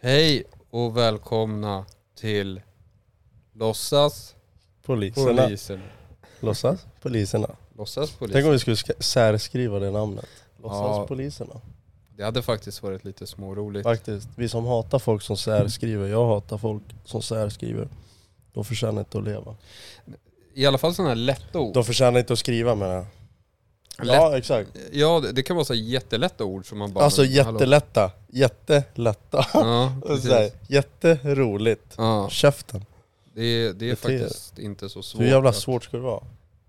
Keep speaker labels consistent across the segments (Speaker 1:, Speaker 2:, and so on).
Speaker 1: Hej och välkomna till Låtsas
Speaker 2: Poliserna.
Speaker 1: polisen.
Speaker 2: Låtsas poliserna.
Speaker 1: Låtsas polisen.
Speaker 2: Tänk om vi skulle sk- särskriva det namnet. Låtsas
Speaker 1: Ja.
Speaker 2: poliserna.
Speaker 1: Det hade faktiskt varit lite småroligt.
Speaker 2: Faktiskt. Vi som hatar folk som särskriver. Jag hatar folk som särskriver. De förtjänar inte att leva.
Speaker 1: I alla fall sådana här lätta ord.
Speaker 2: De förtjänar inte att skriva menar jag.
Speaker 1: Lätt, ja.
Speaker 2: Ja exakt.
Speaker 1: det- det kan vara så här jättelätta ord som man bara...
Speaker 2: Alltså
Speaker 1: Hallå.
Speaker 2: jättelätta. Jättelätta.
Speaker 1: Ja,
Speaker 2: Så här,
Speaker 1: precis.
Speaker 2: jätteroligt.
Speaker 1: Ja,
Speaker 2: Käften.
Speaker 1: det, är- det är
Speaker 2: Bete er.
Speaker 1: faktiskt inte så svårt.
Speaker 2: Hur jävla
Speaker 1: att-
Speaker 2: svårt ska det vara?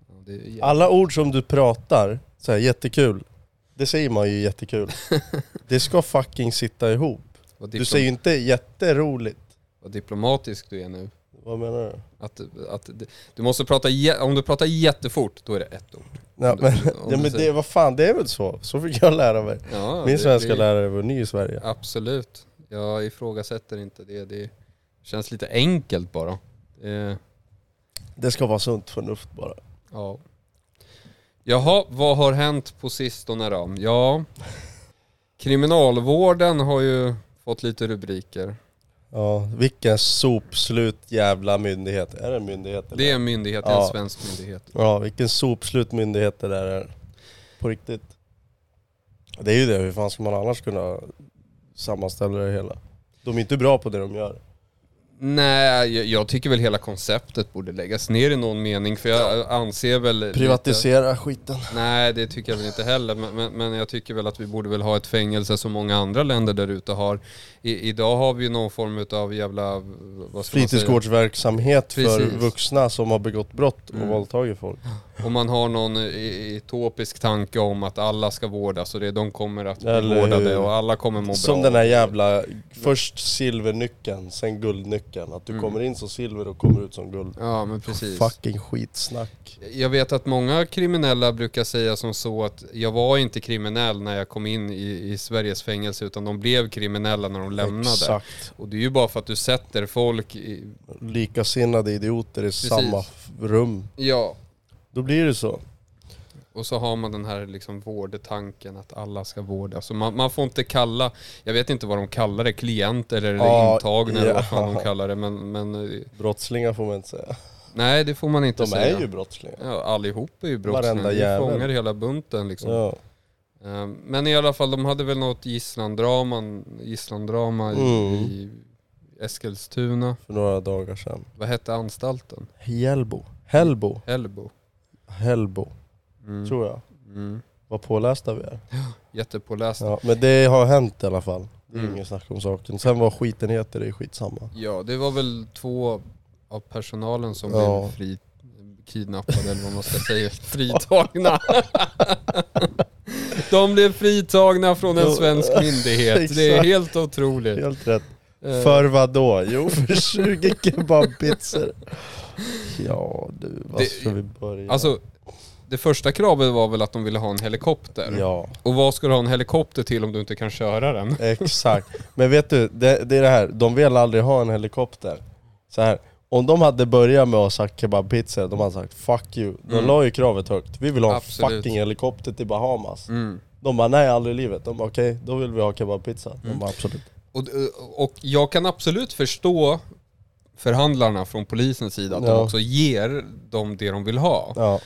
Speaker 1: Ja, det är jävla-
Speaker 2: Alla ord som du pratar, så här, jättekul. Det säger man ju jättekul. Det ska fucking sitta ihop.
Speaker 1: vad,
Speaker 2: Du
Speaker 1: diplom-
Speaker 2: säger ju inte jätteroligt.
Speaker 1: vad diplomatisk du är nu.
Speaker 2: Vad menar du?
Speaker 1: Att, att, du måste prata, jä- om du pratar jättefort, då är det ett ord.
Speaker 2: Ja,
Speaker 1: Om du-
Speaker 2: men,
Speaker 1: om
Speaker 2: ja,
Speaker 1: du
Speaker 2: men
Speaker 1: säger-
Speaker 2: det, vad fan, det är väl så? Så fick jag lära mig.
Speaker 1: Ja,
Speaker 2: Min
Speaker 1: det-
Speaker 2: svenska
Speaker 1: det-
Speaker 2: lärare var ny i Sverige.
Speaker 1: Absolut. Jag ifrågasätter inte det. Det känns lite enkelt bara. Eh,
Speaker 2: Det ska vara sunt förnuft bara.
Speaker 1: ja. Jaha, vad har hänt på sistone då? Ja, kriminalvården har ju fått lite rubriker.
Speaker 2: Ja, vilken sopslut jävla myndighet. Är det en myndighet? Eller?
Speaker 1: Det är en myndighet, det är en
Speaker 2: Ja.
Speaker 1: svensk myndighet.
Speaker 2: Ja, vilken sopslut myndighet det där är. På riktigt. Det är ju det, hur fan ska man annars kunna sammanställa det hela? De är inte bra på det de gör.
Speaker 1: Nej, jag, jag tycker väl hela konceptet borde läggas ner i någon mening för jag anser väl... lite-
Speaker 2: Privatisera skiten.
Speaker 1: Nej, det tycker jag väl inte heller. Men, men, men jag tycker väl att vi borde väl ha ett fängelse som många andra länder där ute har. I, idag har vi ju någon form av jävla... Vad ska man säga?
Speaker 2: Fritidsgårdsverksamhet för
Speaker 1: Precis.
Speaker 2: vuxna som har begått brott och
Speaker 1: Mm.
Speaker 2: våldtagit folk.
Speaker 1: Och man har någon i- i- utopisk tanke om att alla ska vårdas och det, de kommer att bli
Speaker 2: Eller
Speaker 1: vårdade
Speaker 2: hur?
Speaker 1: och alla kommer må
Speaker 2: Som
Speaker 1: bra.
Speaker 2: den här jävla, först silvernyckeln, sen guldnyckeln. Att du
Speaker 1: Mm.
Speaker 2: kommer in som silver och kommer ut som guld.
Speaker 1: Ja, men precis.
Speaker 2: Fucking skitsnack.
Speaker 1: Jag vet att många kriminella brukar säga som så att jag var inte kriminell när jag kom in i, i Sveriges fängelse utan de blev kriminella när de lämnade.
Speaker 2: Exakt.
Speaker 1: Och det är ju bara för att du sätter folk i...
Speaker 2: Likasinnade idioter i samma f- rum.
Speaker 1: Ja,
Speaker 2: Då blir det så.
Speaker 1: Och så har man den här liksom vårdtanken att alla ska vårdas. Och man, man får inte kalla, jag vet inte vad de kallar det, klienter eller
Speaker 2: Ja,
Speaker 1: intagna eller vad
Speaker 2: ja.
Speaker 1: fan de kallar det. Men, men eh,
Speaker 2: Brottslingar får man inte säga.
Speaker 1: nej det får man inte
Speaker 2: De
Speaker 1: säga.
Speaker 2: är ju brottslingar.
Speaker 1: ja, allihop är ju
Speaker 2: Varenda
Speaker 1: brottslingar, vi
Speaker 2: jävel.
Speaker 1: fångar hela bunten liksom.
Speaker 2: Ja.
Speaker 1: Eh, Men i alla fall, de hade väl något gisslandrama, gisslandrama i,
Speaker 2: Mm.
Speaker 1: i Eskilstuna.
Speaker 2: För några dagar sedan.
Speaker 1: Vad hette anstalten?
Speaker 2: Hjällbo. Hällbo.
Speaker 1: Hällbo.
Speaker 2: Hällbo.
Speaker 1: Mm.
Speaker 2: Tror jag.
Speaker 1: Mm.
Speaker 2: Vad pålästa vi är.
Speaker 1: Jättepåläst.
Speaker 2: Ja, men det har hänt i alla fall. Det är
Speaker 1: Mm.
Speaker 2: inget snack om saken. Sen vad skiten heter, det är skitsamma.
Speaker 1: Ja, det var väl två av personalen som
Speaker 2: Ja.
Speaker 1: blev fri, kidnappade eller vad man ska säga, fritagna. De blev fritagna från en
Speaker 2: Ja,
Speaker 1: svensk myndighet. Det är
Speaker 2: exakt.
Speaker 1: helt otroligt.
Speaker 2: Helt rätt.
Speaker 1: Eh,
Speaker 2: För vad då? Jo, för 20 kebabpizzor. Ja du, vad
Speaker 1: Det-
Speaker 2: ska vi börja?
Speaker 1: Alltså, det första kravet var väl att de ville ha en helikopter.
Speaker 2: ja,
Speaker 1: Och vad ska du ha en helikopter till om du inte kan köra den?
Speaker 2: exakt. Men vet du, det, det är det här, de vill aldrig ha en helikopter. Så här, om de hade börjat med att ha sagt kebabpizzor, de hade sagt 'fuck you' De
Speaker 1: Mm.
Speaker 2: la ju kravet högt. Vi vill ha en
Speaker 1: Absolut.
Speaker 2: fucking helikopter till Bahamas.
Speaker 1: Mm.
Speaker 2: De bara 'nej, aldrig i livet' De bara 'okej, då vill vi ha kebabpizza' De
Speaker 1: Mm.
Speaker 2: bara 'absolut'
Speaker 1: Och, eh, och jag kan absolut förstå förhandlarna från polisens sida att
Speaker 2: Ja.
Speaker 1: de också ger dem det de vill ha.
Speaker 2: Ja,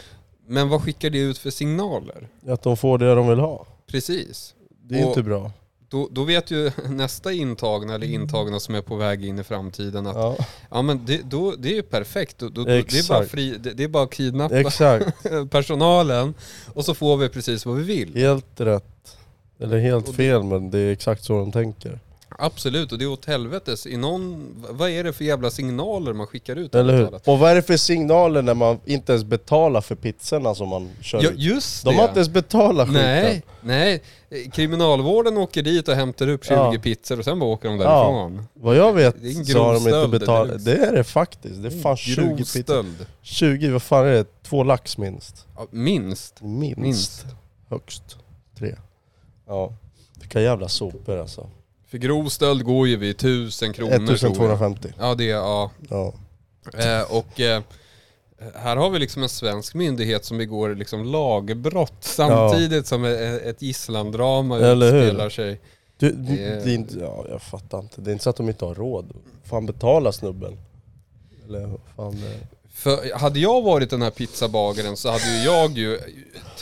Speaker 1: Men vad skickar det ut för signaler?
Speaker 2: att de får det de vill ha.
Speaker 1: Precis.
Speaker 2: Det är typ-
Speaker 1: Och-
Speaker 2: inte bra.
Speaker 1: Då, då vet ju nästa intagna eller intagna som är på väg in i framtiden att ja.
Speaker 2: Ja,
Speaker 1: men det, då, det är ju perfekt. Då, då, då, det, är bara
Speaker 2: Exakt.
Speaker 1: fri, det, det är bara att kidnappa
Speaker 2: exakt.
Speaker 1: personalen och så får vi precis vad vi vill.
Speaker 2: Helt rätt. Eller
Speaker 1: Och
Speaker 2: helt
Speaker 1: det-
Speaker 2: fel, men det är exakt så de tänker.
Speaker 1: Absolut, och det är åt helvetes. I någon, vad är det för jävla signaler man skickar ut?
Speaker 2: Eller hur?
Speaker 1: Ja,
Speaker 2: Och vad är det för signaler när man inte ens betalar för pizzorna som man kör ut?
Speaker 1: just det.
Speaker 2: De har inte ens betalat skiten.
Speaker 1: Nej, nej. Kriminalvården åker dit och hämtar upp 20
Speaker 2: Ja.
Speaker 1: pizzor och sen bara åker de
Speaker 2: Ja.
Speaker 1: därifrån.
Speaker 2: Vad jag vet
Speaker 1: Det är en
Speaker 2: så har de inte
Speaker 1: grovstöld, eller
Speaker 2: betalat.
Speaker 1: hur?
Speaker 2: Det är det faktiskt. Det är fan 20
Speaker 1: Grov
Speaker 2: pizzor.
Speaker 1: stöld.
Speaker 2: 20, vad fan är det? Två lax minst.
Speaker 1: Ja, minst.
Speaker 2: Minst.
Speaker 1: Minst.
Speaker 2: Högst. Tre. Ja. Vilka jävla sopor alltså.
Speaker 1: För grov stöld går ju vid 1000 kronor tror jag.
Speaker 2: 1250.
Speaker 1: Ja det är, ja.
Speaker 2: Ja.
Speaker 1: Eh, och eh, här har vi liksom en svensk myndighet som begår liksom lagbrott samtidigt som e- e- ett gisslandrama
Speaker 2: Eller hur?
Speaker 1: utspelar sig.
Speaker 2: Du,
Speaker 1: Det-
Speaker 2: det är inte, ja, jag fattar inte. Det är inte så att de inte har råd. Fan betala snubben. Eller vad fan eh, det...
Speaker 1: För hade jag varit den här pizzabagaren så hade ju jag ju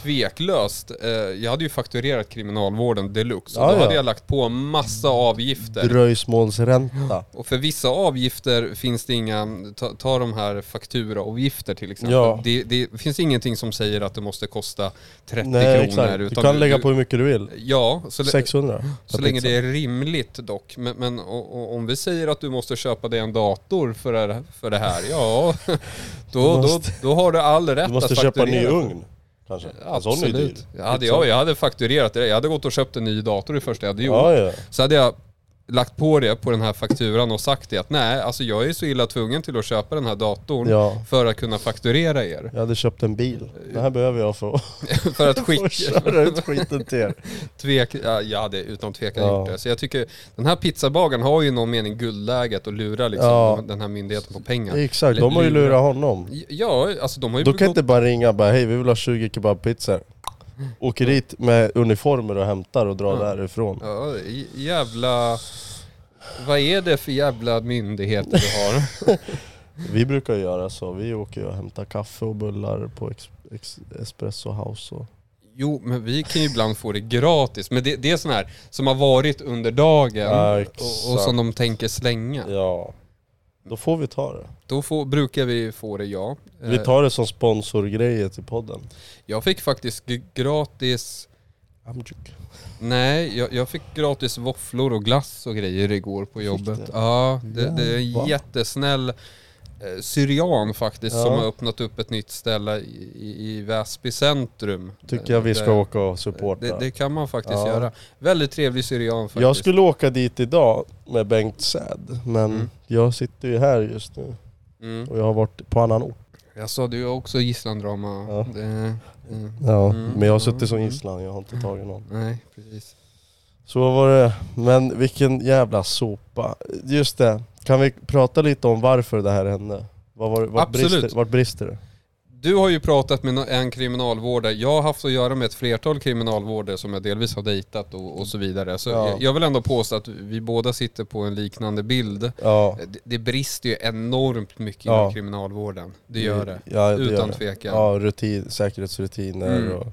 Speaker 1: tveklöst, eh, jag hade ju fakturerat kriminalvården deluxe. Och
Speaker 2: Ja,
Speaker 1: då
Speaker 2: ja.
Speaker 1: hade jag lagt på massa avgifter.
Speaker 2: Dröjsmålsränta.
Speaker 1: Och för vissa avgifter finns det inga, ta, ta de här fakturaavgifter till exempel.
Speaker 2: Ja.
Speaker 1: Det, det finns ingenting som säger att det måste kosta 30
Speaker 2: Nej
Speaker 1: kronor.
Speaker 2: exakt. Du kan lägga på liksom. hur mycket du vill.
Speaker 1: Ja, så, lä-
Speaker 2: 600.
Speaker 1: så
Speaker 2: per
Speaker 1: länge
Speaker 2: pizza.
Speaker 1: det är rimligt dock. Men, men och, och, om vi säger att du måste köpa dig en dator för det, här- för det här, ja då, då,
Speaker 2: måste-
Speaker 1: då har du all rätt
Speaker 2: Du måste
Speaker 1: att
Speaker 2: köpa en ny
Speaker 1: fakturera.
Speaker 2: ugn. Kanske. En sån är ju dyr. Liksom.
Speaker 1: Absolut. Hade jag, jag hade fakturerat det. Jag hade gått och köpt en ny dator det första jag hade gjort.
Speaker 2: Ja, ja.
Speaker 1: Så hade jag lagt på det på den här fakturan och sagt det att nej, alltså jag är så illa tvungen till att köpa den här datorn
Speaker 2: Ja.
Speaker 1: för att kunna fakturera er.
Speaker 2: Jag hade köpt en bil. Den här behöver jag för
Speaker 1: För att
Speaker 2: att
Speaker 1: skicka,
Speaker 2: köra ut skiten till er.
Speaker 1: tvek, ja, jag hade utan tvekan
Speaker 2: Ja.
Speaker 1: gjort det. Så jag tycker, den här pizzabagaren har ju i någon mening guldläget och lurar liksom
Speaker 2: Ja.
Speaker 1: den här myndigheten på pengar.
Speaker 2: Exakt, de har ju lurat honom.
Speaker 1: Ja, alltså de har ju
Speaker 2: Då kan
Speaker 1: begått-
Speaker 2: inte bara ringa och bara hej vi vill ha 20 kebabpizzor. Åker dit med uniformer och hämtar och drar
Speaker 1: Ja.
Speaker 2: därifrån.
Speaker 1: Ja, j- jävla... Vad är det för jävla myndigheter du har?
Speaker 2: Vi brukar ju göra så, vi åker ju och hämtar kaffe och bullar på ex- ex- Espresso House och...
Speaker 1: Jo, men vi kan ju ibland få det gratis. Men det, det är sån här som har varit under dagen
Speaker 2: Ja,
Speaker 1: och, och som de tänker slänga.
Speaker 2: Ja. Då får vi ta det.
Speaker 1: Då får, brukar vi få det, ja.
Speaker 2: Vi
Speaker 1: Eh,
Speaker 2: tar det som sponsorgrejer till podden.
Speaker 1: Jag fick faktiskt g- gratis...
Speaker 2: Amjuk.
Speaker 1: Nej, jag, jag fick gratis våfflor och glass och grejer igår på jobbet.
Speaker 2: det?
Speaker 1: Ja, det, det är en
Speaker 2: Jävlar.
Speaker 1: jättesnäll eh, syrian faktiskt som
Speaker 2: Ja.
Speaker 1: har öppnat upp ett nytt ställe i, i- i Väsby centrum.
Speaker 2: Tycker jag vi
Speaker 1: Där-
Speaker 2: ska åka och supporta.
Speaker 1: Det, det kan man faktiskt
Speaker 2: Ja.
Speaker 1: göra. Väldigt trevlig syrian faktiskt.
Speaker 2: Jag skulle åka dit idag med Bengt Säd, men
Speaker 1: Mm.
Speaker 2: jag sitter ju här just nu
Speaker 1: Mm.
Speaker 2: och jag har varit på annan ort.
Speaker 1: Jag sa du har också gisslandrama.
Speaker 2: Ja.
Speaker 1: Det, mm.
Speaker 2: Ja,
Speaker 1: Mm,
Speaker 2: men jag har
Speaker 1: mm,
Speaker 2: suttit som
Speaker 1: mm.
Speaker 2: gisslan, jag har inte tagit någon.
Speaker 1: Nej, precis.
Speaker 2: Så var det, men vilken jävla sopa. Just det, kan vi prata lite om varför det här hände? Vad var, vart,
Speaker 1: Absolut.
Speaker 2: brister, vart brister det?
Speaker 1: Du har ju pratat med no- en kriminalvårdare. Jag har haft att göra med ett flertal kriminalvårdare som jag delvis har dejtat och, och så vidare. Så
Speaker 2: Ja.
Speaker 1: jag, jag vill ändå påstå att vi båda sitter på en liknande bild.
Speaker 2: Ja,
Speaker 1: Det, det brister ju enormt mycket
Speaker 2: Ja.
Speaker 1: inom kriminalvården. Det gör det.
Speaker 2: Ja, det gör
Speaker 1: Utan
Speaker 2: det.
Speaker 1: tvekan.
Speaker 2: Ja, rutin, säkerhetsrutiner
Speaker 1: Mm.
Speaker 2: och...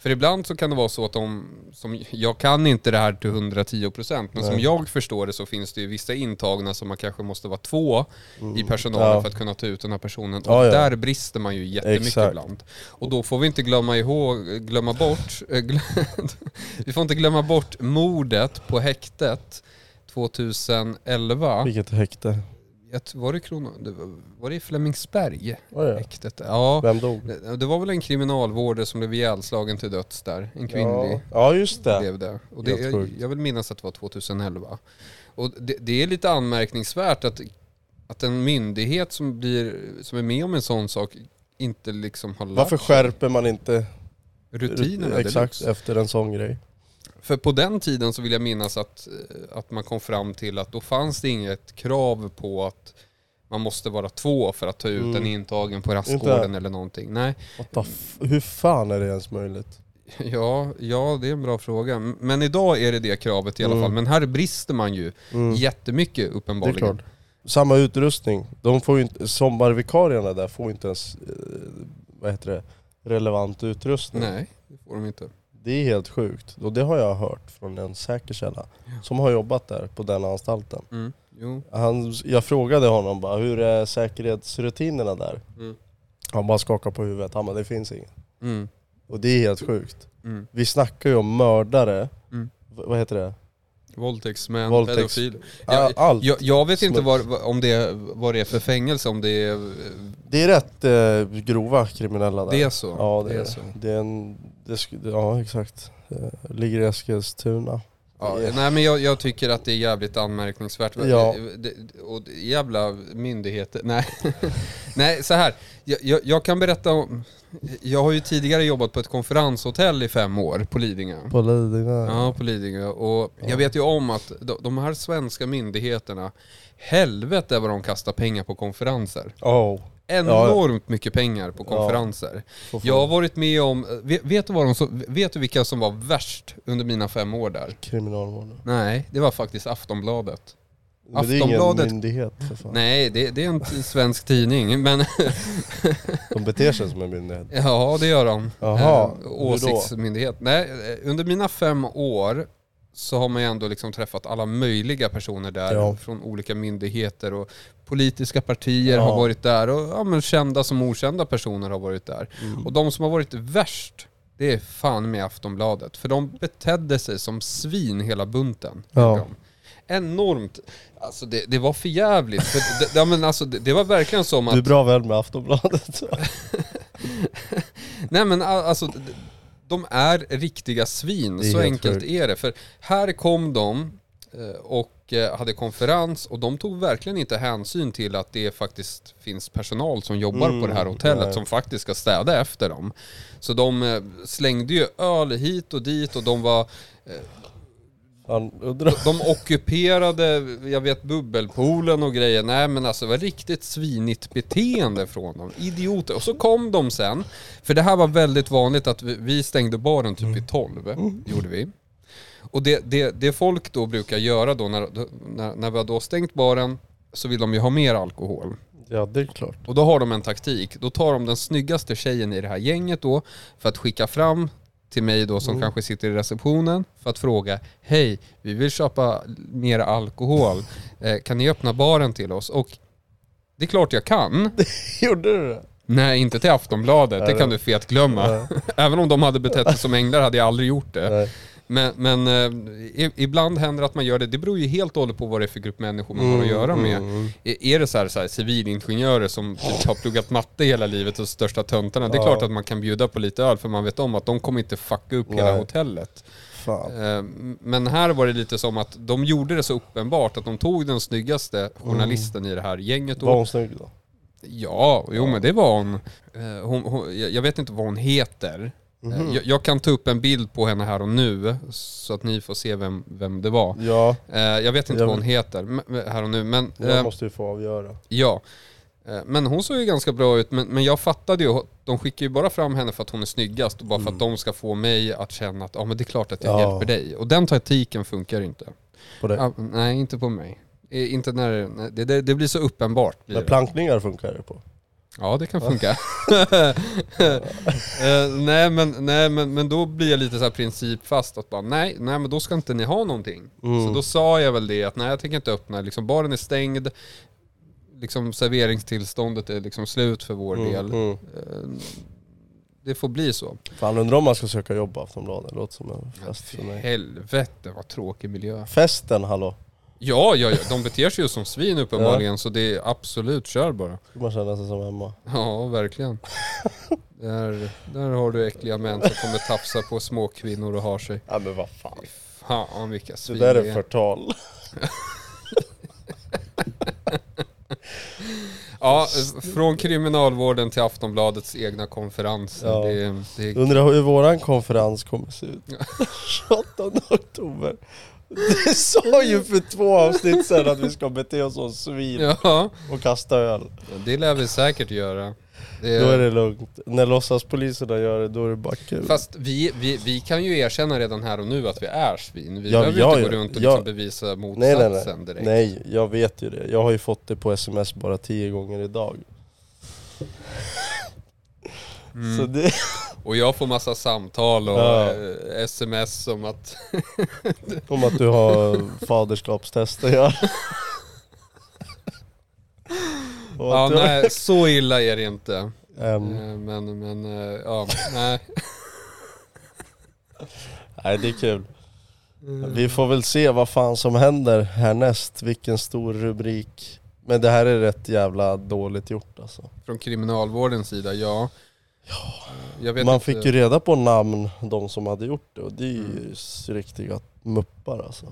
Speaker 1: För ibland så kan det vara så att de, som, jag kan inte det här till 110% men som
Speaker 2: Nej.
Speaker 1: jag förstår det så finns det ju vissa intagna som man kanske måste vara två i personalen
Speaker 2: Mm. Ja.
Speaker 1: för att kunna ta ut den här personen. Och
Speaker 2: Ja, ja.
Speaker 1: där brister man ju jättemycket
Speaker 2: Exakt.
Speaker 1: ibland. Och då får vi inte glömma ihåg, glömma bort, eh, glö- vi får inte glömma bort mordet på häktet 2011.
Speaker 2: Vilket häkte.
Speaker 1: Jag tror- Var det, Krono, det var- var det i Flemingsberg?
Speaker 2: Var det?
Speaker 1: Häktet? Ja.
Speaker 2: Vem dog?
Speaker 1: Det- Det var väl en kriminalvårdare som blev ihjälslagen till döds där. En kvinnlig
Speaker 2: Ja, ja just det.
Speaker 1: blev det. Och det
Speaker 2: Helt
Speaker 1: jag,
Speaker 2: sjukt.
Speaker 1: jag vill minnas att det var 2011. Och det, det är lite anmärkningsvärt att, att en myndighet som, blir, som är med om en sån sak inte liksom har lärt
Speaker 2: Varför
Speaker 1: sig
Speaker 2: skärper man inte
Speaker 1: rutinerna.
Speaker 2: Exakt,
Speaker 1: Exakt.
Speaker 2: efter en sån grej.
Speaker 1: För på den tiden så vill jag minnas att, eh, att man kom fram till att då fanns det inget krav på att man måste vara två för att ta ut
Speaker 2: Mm.
Speaker 1: en intagen på rastgården eller någonting. Nej,
Speaker 2: What the f- hur fan är det ens möjligt?
Speaker 1: ja, ja det är en bra fråga. Men idag är det det kravet i alla
Speaker 2: Mm.
Speaker 1: fall. Men här brister man ju
Speaker 2: Mm,
Speaker 1: jättemycket
Speaker 2: det är
Speaker 1: uppenbarligen.
Speaker 2: klart. Samma utrustning. De får ju inte, sommarvikarierna där får ju inte ens, eh, vad heter det, relevant utrustning.
Speaker 1: Nej, det får de inte.
Speaker 2: Det är helt sjukt. Och det har jag hört från en säker källa som har jobbat där på den anstalten.
Speaker 1: Mm. Jo.
Speaker 2: Han, jag frågade honom bara, hur är säkerhetsrutinerna där?
Speaker 1: Mm.
Speaker 2: Han bara skakade på huvudet, han bara, det finns inget.
Speaker 1: Mm.
Speaker 2: Och det är helt sjukt.
Speaker 1: Mm.
Speaker 2: Vi snackar ju om mördare,
Speaker 1: Mm.
Speaker 2: V- vad heter det?
Speaker 1: Våldtäktsmän,
Speaker 2: Våldtäkts-
Speaker 1: pedofiler. Jag,
Speaker 2: Allt.
Speaker 1: jag, jag vet inte
Speaker 2: Smuts.
Speaker 1: vad, vad- om det, vad det är för fängelse, om det är,
Speaker 2: Det är rätt eh, grova kriminella där.
Speaker 1: det är så.
Speaker 2: ja, det, är
Speaker 1: så.
Speaker 2: det. Det är en, det sk- ja exakt. Eh, Ligger i Eskilstuna.
Speaker 1: Ja,
Speaker 2: Ja.
Speaker 1: Nej men jag, jag tycker att det är jävligt anmärkningsvärt.
Speaker 2: Ja.
Speaker 1: Det- Och det- jävla myndigheter. Nej, nej så här. Jag, jag, jag kan berätta om, jag har ju tidigare jobbat på ett konferenshotell i fem år på Lidingö.
Speaker 2: På Lidingö.
Speaker 1: Ja, på Lidingö. Och jag
Speaker 2: Ja.
Speaker 1: vet ju om att de- de här svenska myndigheterna, helvete vad de kastar pengar på konferenser.
Speaker 2: Oh.
Speaker 1: enormt mycket pengar på konferenser.
Speaker 2: Får
Speaker 1: Jag har
Speaker 2: fan
Speaker 1: varit med om, vet, vet, du vad de som, vet du vilka som var värst under mina fem år där?
Speaker 2: Kriminalvården.
Speaker 1: Nej, det var faktiskt Aftonbladet.
Speaker 2: Men det är ingen
Speaker 1: Aftonbladet-
Speaker 2: myndighet för fan.
Speaker 1: Nej, det, det är en t- svensk tidning, men
Speaker 2: De beter sig som en myndighet.
Speaker 1: ja det gör de.
Speaker 2: Jaha, hur
Speaker 1: eh,
Speaker 2: då?
Speaker 1: åsiktsmyndighet. Nej, eh, under mina fem år så har man ju ändå liksom träffat alla möjliga personer där
Speaker 2: Ja.
Speaker 1: från olika myndigheter och politiska partier
Speaker 2: Ja.
Speaker 1: har varit där och ja, men kända som okända personer har varit där. Mm.
Speaker 2: Mm.
Speaker 1: Och de som har varit värst, det är fan med Aftonbladet. För de betedde sig som svin hela bunten.
Speaker 2: Ja.
Speaker 1: gjorde de. Enormt. Alltså det, det var för jävligt. För det, ja, men alltså det, det var verkligen som att...
Speaker 2: Du är bra vän med Aftonbladet.
Speaker 1: Nej men a- alltså, d- d- de är riktiga svin,
Speaker 2: Det är
Speaker 1: så
Speaker 2: helt
Speaker 1: enkelt
Speaker 2: sjukt.
Speaker 1: är det. För här kom de eh, och eh, hade konferens och de tog verkligen inte hänsyn till att det faktiskt finns personal som jobbar på det här hotellet
Speaker 2: Mm, nej.
Speaker 1: som faktiskt ska städa efter dem. Så de eh, slängde ju öl hit och dit och de var
Speaker 2: Han undrar.
Speaker 1: de ockuperade, jag vet, bubbelpoolen och grejer. Nej men alltså det var riktigt svinigt beteende från dem. Idioter. Och så kom de sen. För det här var väldigt vanligt att vi- vi stängde baren typ vid 12. Gjorde vi. Och det, det, det folk då brukar göra då när, när, när vi har då stängt baren så vill de ju ha mer alkohol.
Speaker 2: Ja det är klart.
Speaker 1: Och då har de en taktik. Då tar de den snyggaste tjejen i det här gänget då för att skicka fram till mig då som kanske sitter i receptionen för att fråga Hej, vi vill köpa mer alkohol. Eh, kan ni öppna baren till oss? Och det är klart jag kan.
Speaker 2: Gjorde du det?
Speaker 1: Nej, inte till Aftonbladet. Det
Speaker 2: Nej,
Speaker 1: kan
Speaker 2: det-
Speaker 1: du fet glömma. Även om de hade betett sig som änglar hade jag aldrig gjort det.
Speaker 2: Nej.
Speaker 1: Men, men eh, i, ibland händer att man gör det. Det beror ju helt och hållet på vad det är för grupp människor man
Speaker 2: Mm,
Speaker 1: har att göra med. Är, är det så här, så här civilingenjörer som typ har pluggat matte hela livet och största töntarna. Det är
Speaker 2: Ja.
Speaker 1: klart att man kan bjuda på lite öl för man vet om att de kommer inte fucka upp hela
Speaker 2: Nej.
Speaker 1: hotellet.
Speaker 2: Fan.
Speaker 1: Eh, Men här var det lite som att de gjorde det så uppenbart att de tog den snyggaste journalisten i det här gänget.
Speaker 2: Mm. Var
Speaker 1: Och,
Speaker 2: hon snygg då?
Speaker 1: ja, jo men det var hon. Eh, hon, hon jag jag vet inte vad hon heter.
Speaker 2: Mhm.
Speaker 1: Eh, Jag, jag kan ta upp en bild på henne här och nu så att ni får se vem, vem det var.
Speaker 2: Ja,
Speaker 1: Eh, jag vet inte
Speaker 2: Jag
Speaker 1: vad hon heter m- m- här och nu, men
Speaker 2: jag
Speaker 1: eh,
Speaker 2: måste ju få avgöra.
Speaker 1: ja. Eh, Men hon såg ju ganska bra ut, men, men jag fattade ju, de skickar ju bara fram henne för att hon är snyggast och bara för att de ska få mig att känna att ja men det är klart att jag
Speaker 2: Mm. Ja.
Speaker 1: hjälper dig. Och den taktiken funkar inte.
Speaker 2: På det.
Speaker 1: Ja, nej, inte på mig. Eh, Inte när, nej, det, det, det blir så uppenbart. Blir
Speaker 2: Men
Speaker 1: det.
Speaker 2: plankningar funkar det på.
Speaker 1: Ja, det kan funka. Eh, nej, men, nej men, men då blir jag lite så här principfast att bara nej, nej men då ska inte ni ha någonting.
Speaker 2: Mm.
Speaker 1: Så då sa jag väl det att nej jag tänker inte öppna, liksom, baren är stängd, liksom, serveringstillståndet är liksom slut för vår del.
Speaker 2: Mm.
Speaker 1: Eh, det får bli så.
Speaker 2: Fan undrar om man ska söka jobb på Aftonbladet, det låter som en fest för mig.
Speaker 1: Helvete vad tråkig miljö.
Speaker 2: Festen hallå,
Speaker 1: Ja, ja, ja, de beter sig ju som svin uppenbarligen så det är absolut, kör bara.
Speaker 2: ska man känna sig som hemma.
Speaker 1: Ja, verkligen. där, där har du äckliga män som kommer tafsa på små kvinnor och har sig.
Speaker 2: Ja men vad fan.
Speaker 1: Fan vilka
Speaker 2: Det
Speaker 1: svin
Speaker 2: där
Speaker 1: vi
Speaker 2: är förtal.
Speaker 1: Ja, från kriminalvården till Aftonbladets egna konferenser.
Speaker 2: Ja.
Speaker 1: Det, det,
Speaker 2: Undrar hur våran konferens kommer se ut. 28 oktober. Du sa ju för två avsnitt sedan att vi ska bete oss som svin
Speaker 1: ja,
Speaker 2: och kasta öl.
Speaker 1: det lär vi säkert göra. Det,
Speaker 2: Då är det lugnt. När låtsaspoliserna gör det, då är det bara kul.
Speaker 1: Fast vi, vi, vi kan ju erkänna redan här och nu att vi är svin. Vi
Speaker 2: Ja,
Speaker 1: behöver
Speaker 2: ja,
Speaker 1: inte gå
Speaker 2: ja,
Speaker 1: runt och
Speaker 2: ja.
Speaker 1: liksom bevisa
Speaker 2: nej,
Speaker 1: motsatsen
Speaker 2: nej, nej.
Speaker 1: direkt.
Speaker 2: nej, jag vet ju det. Jag har ju fått det på sms bara tio gånger idag.
Speaker 1: Mm.
Speaker 2: Så det,
Speaker 1: Och jag får massa samtal och
Speaker 2: Ja.
Speaker 1: eh, sms om att
Speaker 2: om att du har faderskapstest att göra. Och
Speaker 1: ja,
Speaker 2: att du har-
Speaker 1: nej, så illa är det inte.
Speaker 2: Ehm,
Speaker 1: Eh, Men, men eh, ja, nej.
Speaker 2: Nej det är kul. Vi får väl se vad fan som händer härnäst, vilken stor rubrik. Men det här är rätt jävla dåligt gjort alltså.
Speaker 1: Från kriminalvårdens sida, ja. Eh, Jag vet
Speaker 2: Man
Speaker 1: inte.
Speaker 2: fick ju reda på namn, de som hade gjort det och det är
Speaker 1: Mm.
Speaker 2: ju s- riktiga muppar alltså.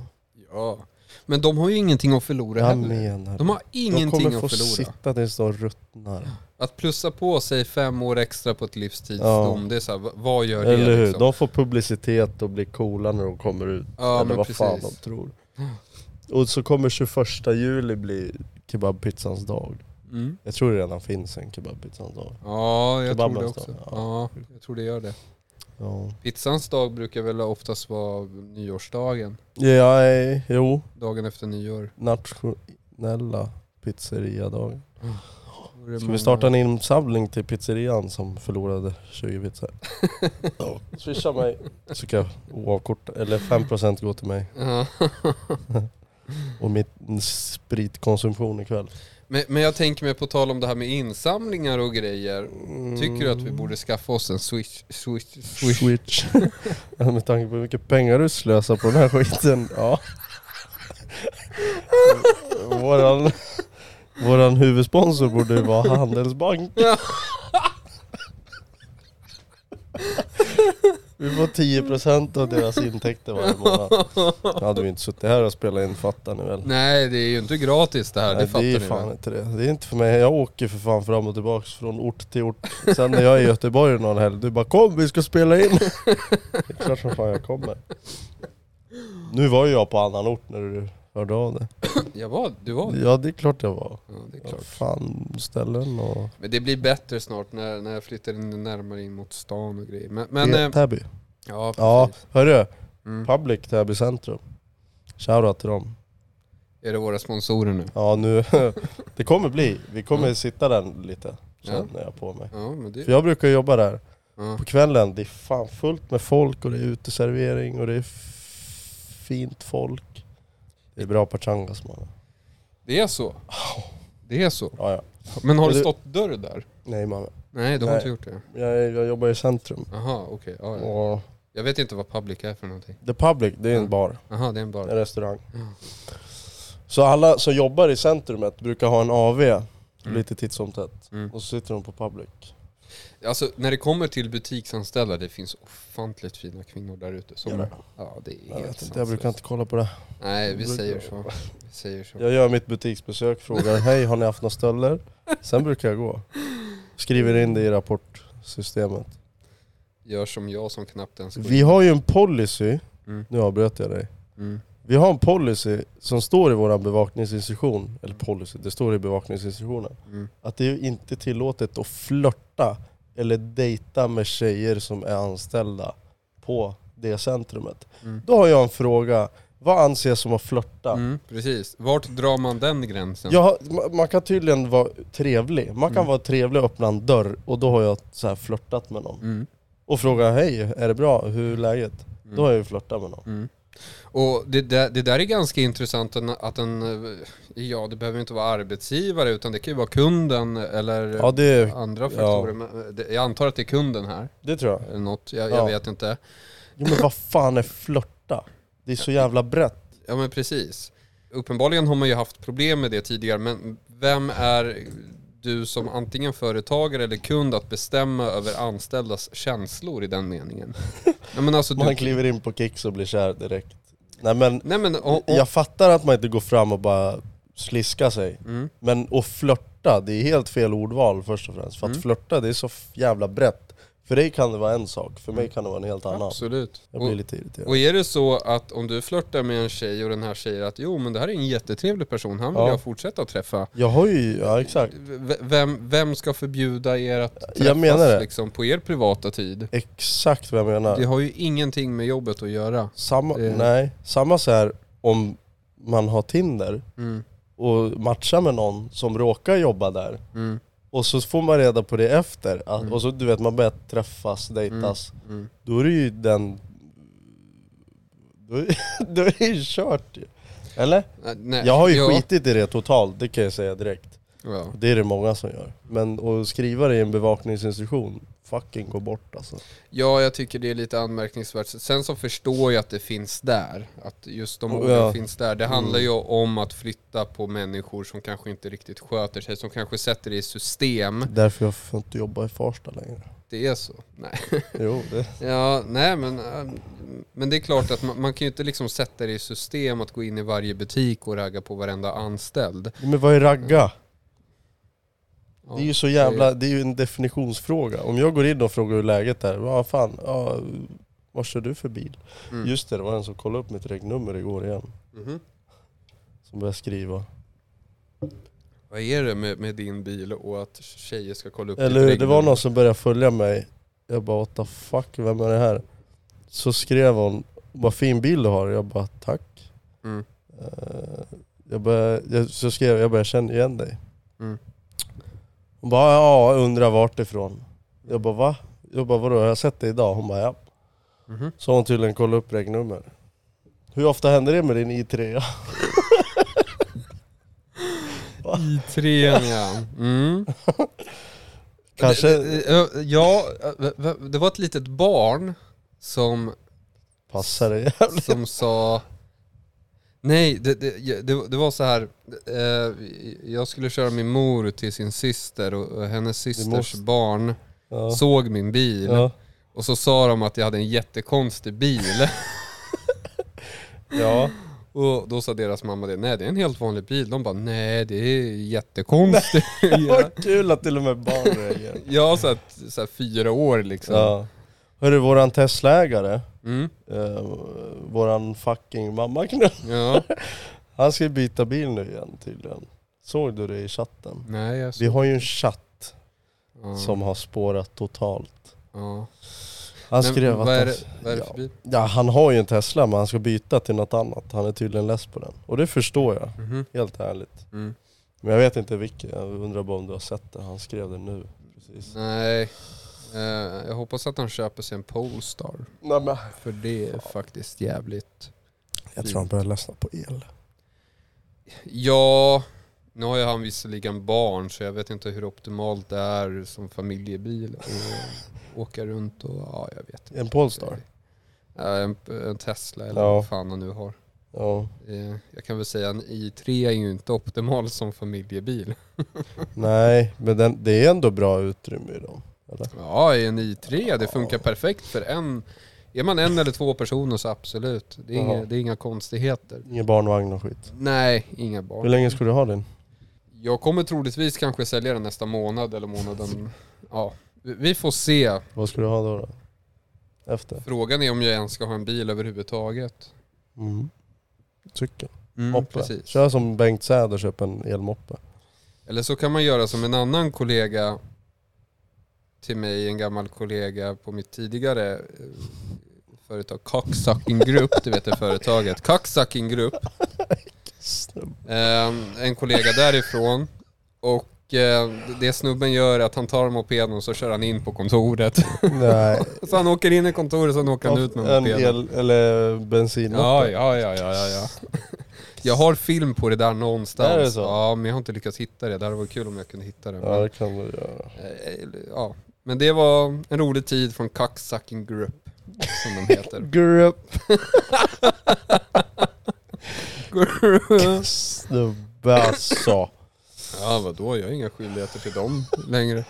Speaker 1: Ja. Men de har ju ingenting att förlora
Speaker 2: Jag
Speaker 1: heller.
Speaker 2: menar
Speaker 1: De har
Speaker 2: De
Speaker 1: ingenting
Speaker 2: kommer
Speaker 1: att
Speaker 2: få
Speaker 1: förlora.
Speaker 2: sitta tills de ruttnar.
Speaker 1: Att plussa på sig fem år extra på ett livstidsdom,
Speaker 2: Ja.
Speaker 1: det är så här, v- vad gör det
Speaker 2: Eller hur?
Speaker 1: liksom?
Speaker 2: De får publicitet och blir coola när de kommer ut.
Speaker 1: Ja,
Speaker 2: Eller
Speaker 1: men
Speaker 2: vad fan de
Speaker 1: precis.
Speaker 2: tror. Och så kommer 21 juli bli kebabpizzans dag.
Speaker 1: Mm.
Speaker 2: Jag tror det redan finns en kebabpizzans dag.
Speaker 1: Ja, jag tror det
Speaker 2: Kebabens
Speaker 1: också.
Speaker 2: dag,
Speaker 1: Ja, jag tror det gör det.
Speaker 2: Ja.
Speaker 1: Pizzans dag brukar väl oftast vara nyårsdagen.
Speaker 2: ja, eh, jo.
Speaker 1: Dagen efter nyår.
Speaker 2: Nationella pizzeriadagen.
Speaker 1: Då är det
Speaker 2: Ska
Speaker 1: många-
Speaker 2: vi starta en insamling till pizzerian som förlorade 20 pizzor? Ja. Swisha mig. Så kan jag oavkort, eller 5% går till mig.
Speaker 1: Ja.
Speaker 2: Och mitt spritkonsumtion ikväll.
Speaker 1: Men, men jag tänker mig på tal om det här med insamlingar och grejer. Tycker du att
Speaker 2: Mm.
Speaker 1: vi borde skaffa oss en swish, swish, swish?
Speaker 2: Switch. Ja, Med tanke på hur mycket pengar du slösar på den här skiten. Ja. Våran, våran huvudsponsor borde ju vara Handelsbanken.
Speaker 1: Ja.
Speaker 2: Vi får 10% av deras intäkter varje månad. Då hade vi inte suttit här och spelat in fattar ni väl.
Speaker 1: Nej, det är ju inte gratis det här, det
Speaker 2: Nej,
Speaker 1: fattar
Speaker 2: är
Speaker 1: ni
Speaker 2: fan
Speaker 1: väl?
Speaker 2: inte det. Det är inte för mig. Jag åker för fan fram och tillbaks från ort till ort. Sen när jag är i Göteborg någon helg, du bara kom vi ska spela in. Det är klart som fan jag kommer. Nu var ju jag på annan ort när du hörde av dig.
Speaker 1: Jag var, du var det.
Speaker 2: Ja det är klart jag var.
Speaker 1: Ja, det är
Speaker 2: Ja,
Speaker 1: klart.
Speaker 2: fan ställen och...
Speaker 1: Men det blir bättre snart när, när jag flyttar in närmare in mot stan och grejer. Men, men
Speaker 2: Men,
Speaker 1: eh,
Speaker 2: E- Täby.
Speaker 1: ja,
Speaker 2: Ja,
Speaker 1: precis.
Speaker 2: hörru.
Speaker 1: Mm.
Speaker 2: Public Täby centrum. Shoutout till dem.
Speaker 1: Är det våra sponsorer nu?
Speaker 2: Ja nu, det kommer bli. Vi
Speaker 1: Mm.
Speaker 2: kommer sitta där lite, känner jag på mig.
Speaker 1: Ja, men det...
Speaker 2: För jag brukar jobba där.
Speaker 1: Ja.
Speaker 2: På kvällen, det är fan fullt med folk och det är uteservering och det är f- fint folk. Det är bra pachangas man.
Speaker 1: Det är så. Det är så.
Speaker 2: Ja, ja.
Speaker 1: Men har
Speaker 2: Och
Speaker 1: det
Speaker 2: du-
Speaker 1: stått dörr där?
Speaker 2: Nej man.
Speaker 1: Nej, du har
Speaker 2: Nej.
Speaker 1: inte gjort det.
Speaker 2: Jag, jag jobbar i centrum.
Speaker 1: Aha, okej. ja, ja.
Speaker 2: Och
Speaker 1: Jag vet inte vad public är för någonting.
Speaker 2: The Public, det är en
Speaker 1: Ja.
Speaker 2: bar,
Speaker 1: Aha, det är en bar.
Speaker 2: en restaurang.
Speaker 1: Mm.
Speaker 2: Så alla som jobbar i centrumet brukar ha en AV lite titt som tätt.
Speaker 1: Mm.
Speaker 2: Och så sitter de på Public.
Speaker 1: Alltså när det kommer till butiksanställda, det finns ofantligt fina kvinnor där ute. Som...
Speaker 2: Gör det?
Speaker 1: Ja, det är
Speaker 2: Jag,
Speaker 1: helt
Speaker 2: vet inte, jag brukar
Speaker 1: sanslöst.
Speaker 2: inte kolla på det.
Speaker 1: Nej, vi
Speaker 2: Jag brukar-
Speaker 1: säger så. Vi säger så.
Speaker 2: Jag gör mitt butiksbesök, frågar hej har ni haft några stölder? Sen brukar jag gå. Skriver in det i rapportsystemet.
Speaker 1: Gör som jag som knappt ens går
Speaker 2: Vi har ju en policy,
Speaker 1: Mm.
Speaker 2: nu avbröt jag dig.
Speaker 1: Mm.
Speaker 2: Vi har en policy som står i vår bevakningsinstruktion, eller policy, det står i bevakningsinstruktionen.
Speaker 1: Mm.
Speaker 2: Att det är ju inte tillåtet att flörta eller dejta med tjejer som är anställda på det centrumet.
Speaker 1: Mm.
Speaker 2: Då har jag en fråga, vad anses som att flörta?
Speaker 1: Mm, precis. Vart drar man den gränsen?
Speaker 2: Jag har, ma- man kan tydligen vara trevlig, man kan
Speaker 1: Mm.
Speaker 2: vara trevlig och öppna en dörr och då har jag så här flörtat med någon.
Speaker 1: Mm.
Speaker 2: Och fråga hej, är det bra? Hur är läget?
Speaker 1: Mm.
Speaker 2: Då har jag ju flörtat med någon.
Speaker 1: Mm. Och det där, det där är ganska intressant en- att en, eh, ja det behöver inte vara arbetsgivare utan det kan ju vara kunden eller
Speaker 2: Ja det,
Speaker 1: andra faktorer. Men, eh, det- Jag antar att det är kunden här,
Speaker 2: det tror jag.
Speaker 1: eller något, jag,
Speaker 2: Ja.
Speaker 1: jag vet inte.
Speaker 2: Jo men vad fan är flörta? Det är så jävla brett.
Speaker 1: Ja men precis. Uppenbarligen har man ju haft problem med det tidigare men vem är du som antingen företagare eller kund att bestämma över anställdas känslor i den meningen? Nej men alltså
Speaker 2: Man
Speaker 1: du...
Speaker 2: kliver in på Kicks och blir kär direkt. Nej men,
Speaker 1: Nej men o- o-
Speaker 2: jag fattar att man inte går fram och bara sliskar sig.
Speaker 1: Mm.
Speaker 2: Men att flörta, det är helt fel ordval först och främst. För att
Speaker 1: Mm.
Speaker 2: flörta, det är så f- jävla brett. För dig kan det vara en sak, för mig kan det vara en helt annan.
Speaker 1: Mm. absolut.
Speaker 2: Jag blir
Speaker 1: Och-
Speaker 2: lite irriterad.
Speaker 1: Och är det så att om du flörtar med en tjej och den här säger att jo men det här är en jättetrevlig person, han vill
Speaker 2: Ja.
Speaker 1: jag fortsätta att träffa.
Speaker 2: Jag har ju, ja exakt.
Speaker 1: V- Vem, vem ska förbjuda er att träffas
Speaker 2: menar det.
Speaker 1: Liksom, på er privata tid?
Speaker 2: Exakt vad jag menar.
Speaker 1: Det har ju ingenting med jobbet att göra.
Speaker 2: Samma,
Speaker 1: det-
Speaker 2: nej, samma så här om man har Tinder
Speaker 1: Mm,
Speaker 2: och matchar med någon som råkar jobba där.
Speaker 1: mm,
Speaker 2: Och så får man reda på det efter, att,
Speaker 1: Mm.
Speaker 2: och så du vet man börjar träffas, dejtas.
Speaker 1: mm.
Speaker 2: Då är det ju den... Då är, då är det ju kört ju. Eller?
Speaker 1: Äh, nej,
Speaker 2: Jag har ju
Speaker 1: ja,
Speaker 2: skitit i det totalt, det kan jag säga direkt.
Speaker 1: Ja.
Speaker 2: Det är det många som gör. Men att skriva det i en bevakningsinstruktion, fucking gå bort alltså.
Speaker 1: ja, jag tycker det är lite anmärkningsvärt. Sen så förstår jag att det finns där. Att just de
Speaker 2: Ja. Mm.
Speaker 1: orden finns där. Det handlar ju om att flytta på människor som kanske inte riktigt sköter sig, som kanske sätter det i system.
Speaker 2: Därför jag får inte jobba i Farsta längre.
Speaker 1: Det är så. Nej.
Speaker 2: Jo, det...
Speaker 1: Ja, nej men, eh, men det är klart att man, man kan ju inte liksom sätta det i system att gå in i varje butik och ragga på varenda anställd.
Speaker 2: Men vad är ragga?
Speaker 1: Ja,
Speaker 2: Det är ju så jävla, det är ju en definitionsfråga. Om jag går in och frågar hur läget är, vad fan, ja, vad kör du för bil?
Speaker 1: Mm.
Speaker 2: Just det, det var en som kollade upp mitt regnummer igår igen,
Speaker 1: Mhm.
Speaker 2: som började skriva.
Speaker 1: Vad är det med, med din bil och att tjejer ska kolla upp ditt
Speaker 2: Eller hur? Det var
Speaker 1: regnummer?
Speaker 2: någon som började följa mig. Jag bara what the fuck, vem är det här? Så skrev hon, vad fin bil du har. Jag bara tack.
Speaker 1: Mm.
Speaker 2: Eh, Jag bara, jag, så skrev jag bara jag känner igen dig.
Speaker 1: Mm.
Speaker 2: Hon bara ja, jag undrar vart ifrån. Jag bara va? Jag bara vadå, har jag sett dig idag? Hon bara ja.
Speaker 1: Mhm.
Speaker 2: Så har hon tydligen kollat upp regnummer. Hur ofta händer det med din i3?
Speaker 1: I trean ja. Mm.
Speaker 2: Kanske
Speaker 1: Det- det- Eh, Ja, eh, det var ett litet barn som
Speaker 2: passar det jävligt.
Speaker 1: som sa Nej, det, det, det, det var så här. Eh, jag skulle köra min mor till sin syster och, och hennes systers
Speaker 2: måste-
Speaker 1: barn
Speaker 2: Ja.
Speaker 1: såg min bil
Speaker 2: Ja.
Speaker 1: och så sa de att jag hade en jättekonstig bil.
Speaker 2: ja.
Speaker 1: och då sa deras mamma det, nej det är en helt vanlig bil. De bara, nej det är jättekonstigt. ja,
Speaker 2: Vad kul att till och med barn reagerar.
Speaker 1: jag har så här, så här fyra år liksom.
Speaker 2: Ja. Hörru, våran Tesla-ägare,
Speaker 1: Mm,
Speaker 2: eh, våran fucking mamma knull,
Speaker 1: ja.
Speaker 2: han ska ju byta bil nu igen tydligen. Såg du det i chatten?
Speaker 1: Nej, jag
Speaker 2: Vi har ju en chatt
Speaker 1: ja,
Speaker 2: som har spårat totalt.
Speaker 1: ja.
Speaker 2: Han
Speaker 1: Men
Speaker 2: skrev att
Speaker 1: vad är
Speaker 2: han,
Speaker 1: det, vad är det för
Speaker 2: ja.
Speaker 1: bil?
Speaker 2: ja, han har ju en Tesla men han ska byta till något annat. Han är tydligen less på den. Och det förstår jag,
Speaker 1: Mhm,
Speaker 2: helt ärligt.
Speaker 1: mm.
Speaker 2: Men jag vet inte vilken, jag undrar bara om du har sett det. Han skrev det nu. Precis.
Speaker 1: Nej, eh, jag hoppas att han köper sig en Polestar.
Speaker 2: Nej, men.
Speaker 1: För det är faktiskt jävligt...
Speaker 2: Jag tror han börjar ledsna på el.
Speaker 1: Ja, nu har ju han visserligen barn så jag vet inte hur optimalt det är som familjebil och åka runt och ja, jag vet inte.
Speaker 2: En Polestar?
Speaker 1: Ja, en, en Tesla eller
Speaker 2: Ja.
Speaker 1: vad fan han nu har.
Speaker 2: Ja.
Speaker 1: Eh, Jag kan väl säga en i3 är ju inte optimal som familjebil.
Speaker 2: Nej, men den, det är ändå bra utrymme i dem. Eller?
Speaker 1: Ja, i en i3, det funkar
Speaker 2: Ja.
Speaker 1: perfekt för en. Är man en eller två personer så absolut. Det är, inga,
Speaker 2: Ja.
Speaker 1: det är inga konstigheter.
Speaker 2: Ingen barnvagn och skit.
Speaker 1: Nej, inga barn.
Speaker 2: Hur länge ska du ha den?
Speaker 1: Jag kommer troligtvis kanske sälja den nästa månad eller månaden. Ja, vi- vi får se.
Speaker 2: Vad ska du ha då? då? Efter?
Speaker 1: Frågan är om jag ens ska ha en bil överhuvudtaget.
Speaker 2: Mm. Cykel.
Speaker 1: Mm,
Speaker 2: Moppe. Kör som Bengt Säder, köp en elmoppe.
Speaker 1: Eller så kan man göra som en annan kollega till mig, en gammal kollega på mitt tidigare eh, företag, Cocksucking Group, du vet det företaget, Cocksucking Group. Ehm, en kollega därifrån. Och eh, det snubben gör är att han tar mopeden och så kör han in på kontoret.
Speaker 2: Nej.
Speaker 1: Så han åker in i kontoret och sen åker han ut med
Speaker 2: En
Speaker 1: mopeden.
Speaker 2: el eller
Speaker 1: Ja,
Speaker 2: bensinmoppe.
Speaker 1: ja, ja, ja, ja, ja. Jag har film på det där någonstans.
Speaker 2: Är det så?
Speaker 1: Ja, men jag har inte lyckats hitta det. Det hade varit kul om jag kunde hitta det.
Speaker 2: Ja,
Speaker 1: Men,
Speaker 2: det kan du göra.
Speaker 1: eh, ja. men det var en rolig tid från Cocksucking Group, som de heter.
Speaker 2: Grupp.
Speaker 1: Group.
Speaker 2: Snubbe alltså.
Speaker 1: ja, vadå? Jag har inga skyldigheter till dem längre.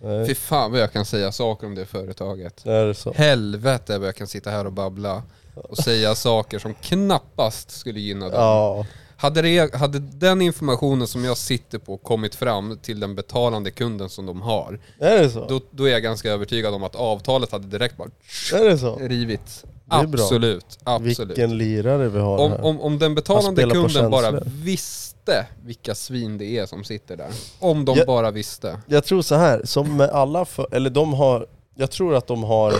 Speaker 1: Fy
Speaker 2: Nej.
Speaker 1: fan vad jag kan säga saker om det företaget.
Speaker 2: Är det så?
Speaker 1: Helvete vad jag kan sitta här och babbla och säga saker som knappast skulle gynna dem.
Speaker 2: Ja.
Speaker 1: Hade, det, hade den informationen som jag sitter på kommit fram till den betalande kunden som de har,
Speaker 2: Är det så?
Speaker 1: då, då är jag ganska övertygad om att avtalet hade direkt bara
Speaker 2: Är det så?
Speaker 1: rivits.
Speaker 2: Det är bra.
Speaker 1: Absolut, absolut.
Speaker 2: Vilken lirare vi har
Speaker 1: Om,
Speaker 2: här.
Speaker 1: om, om den
Speaker 2: Han
Speaker 1: betalande
Speaker 2: spelar på
Speaker 1: kunden bara
Speaker 2: känslor.
Speaker 1: visste vilka svin det är som sitter där. Om de
Speaker 2: Jag-
Speaker 1: bara visste.
Speaker 2: Jag tror så här, som med alla, för, eller de har, jag tror att de har,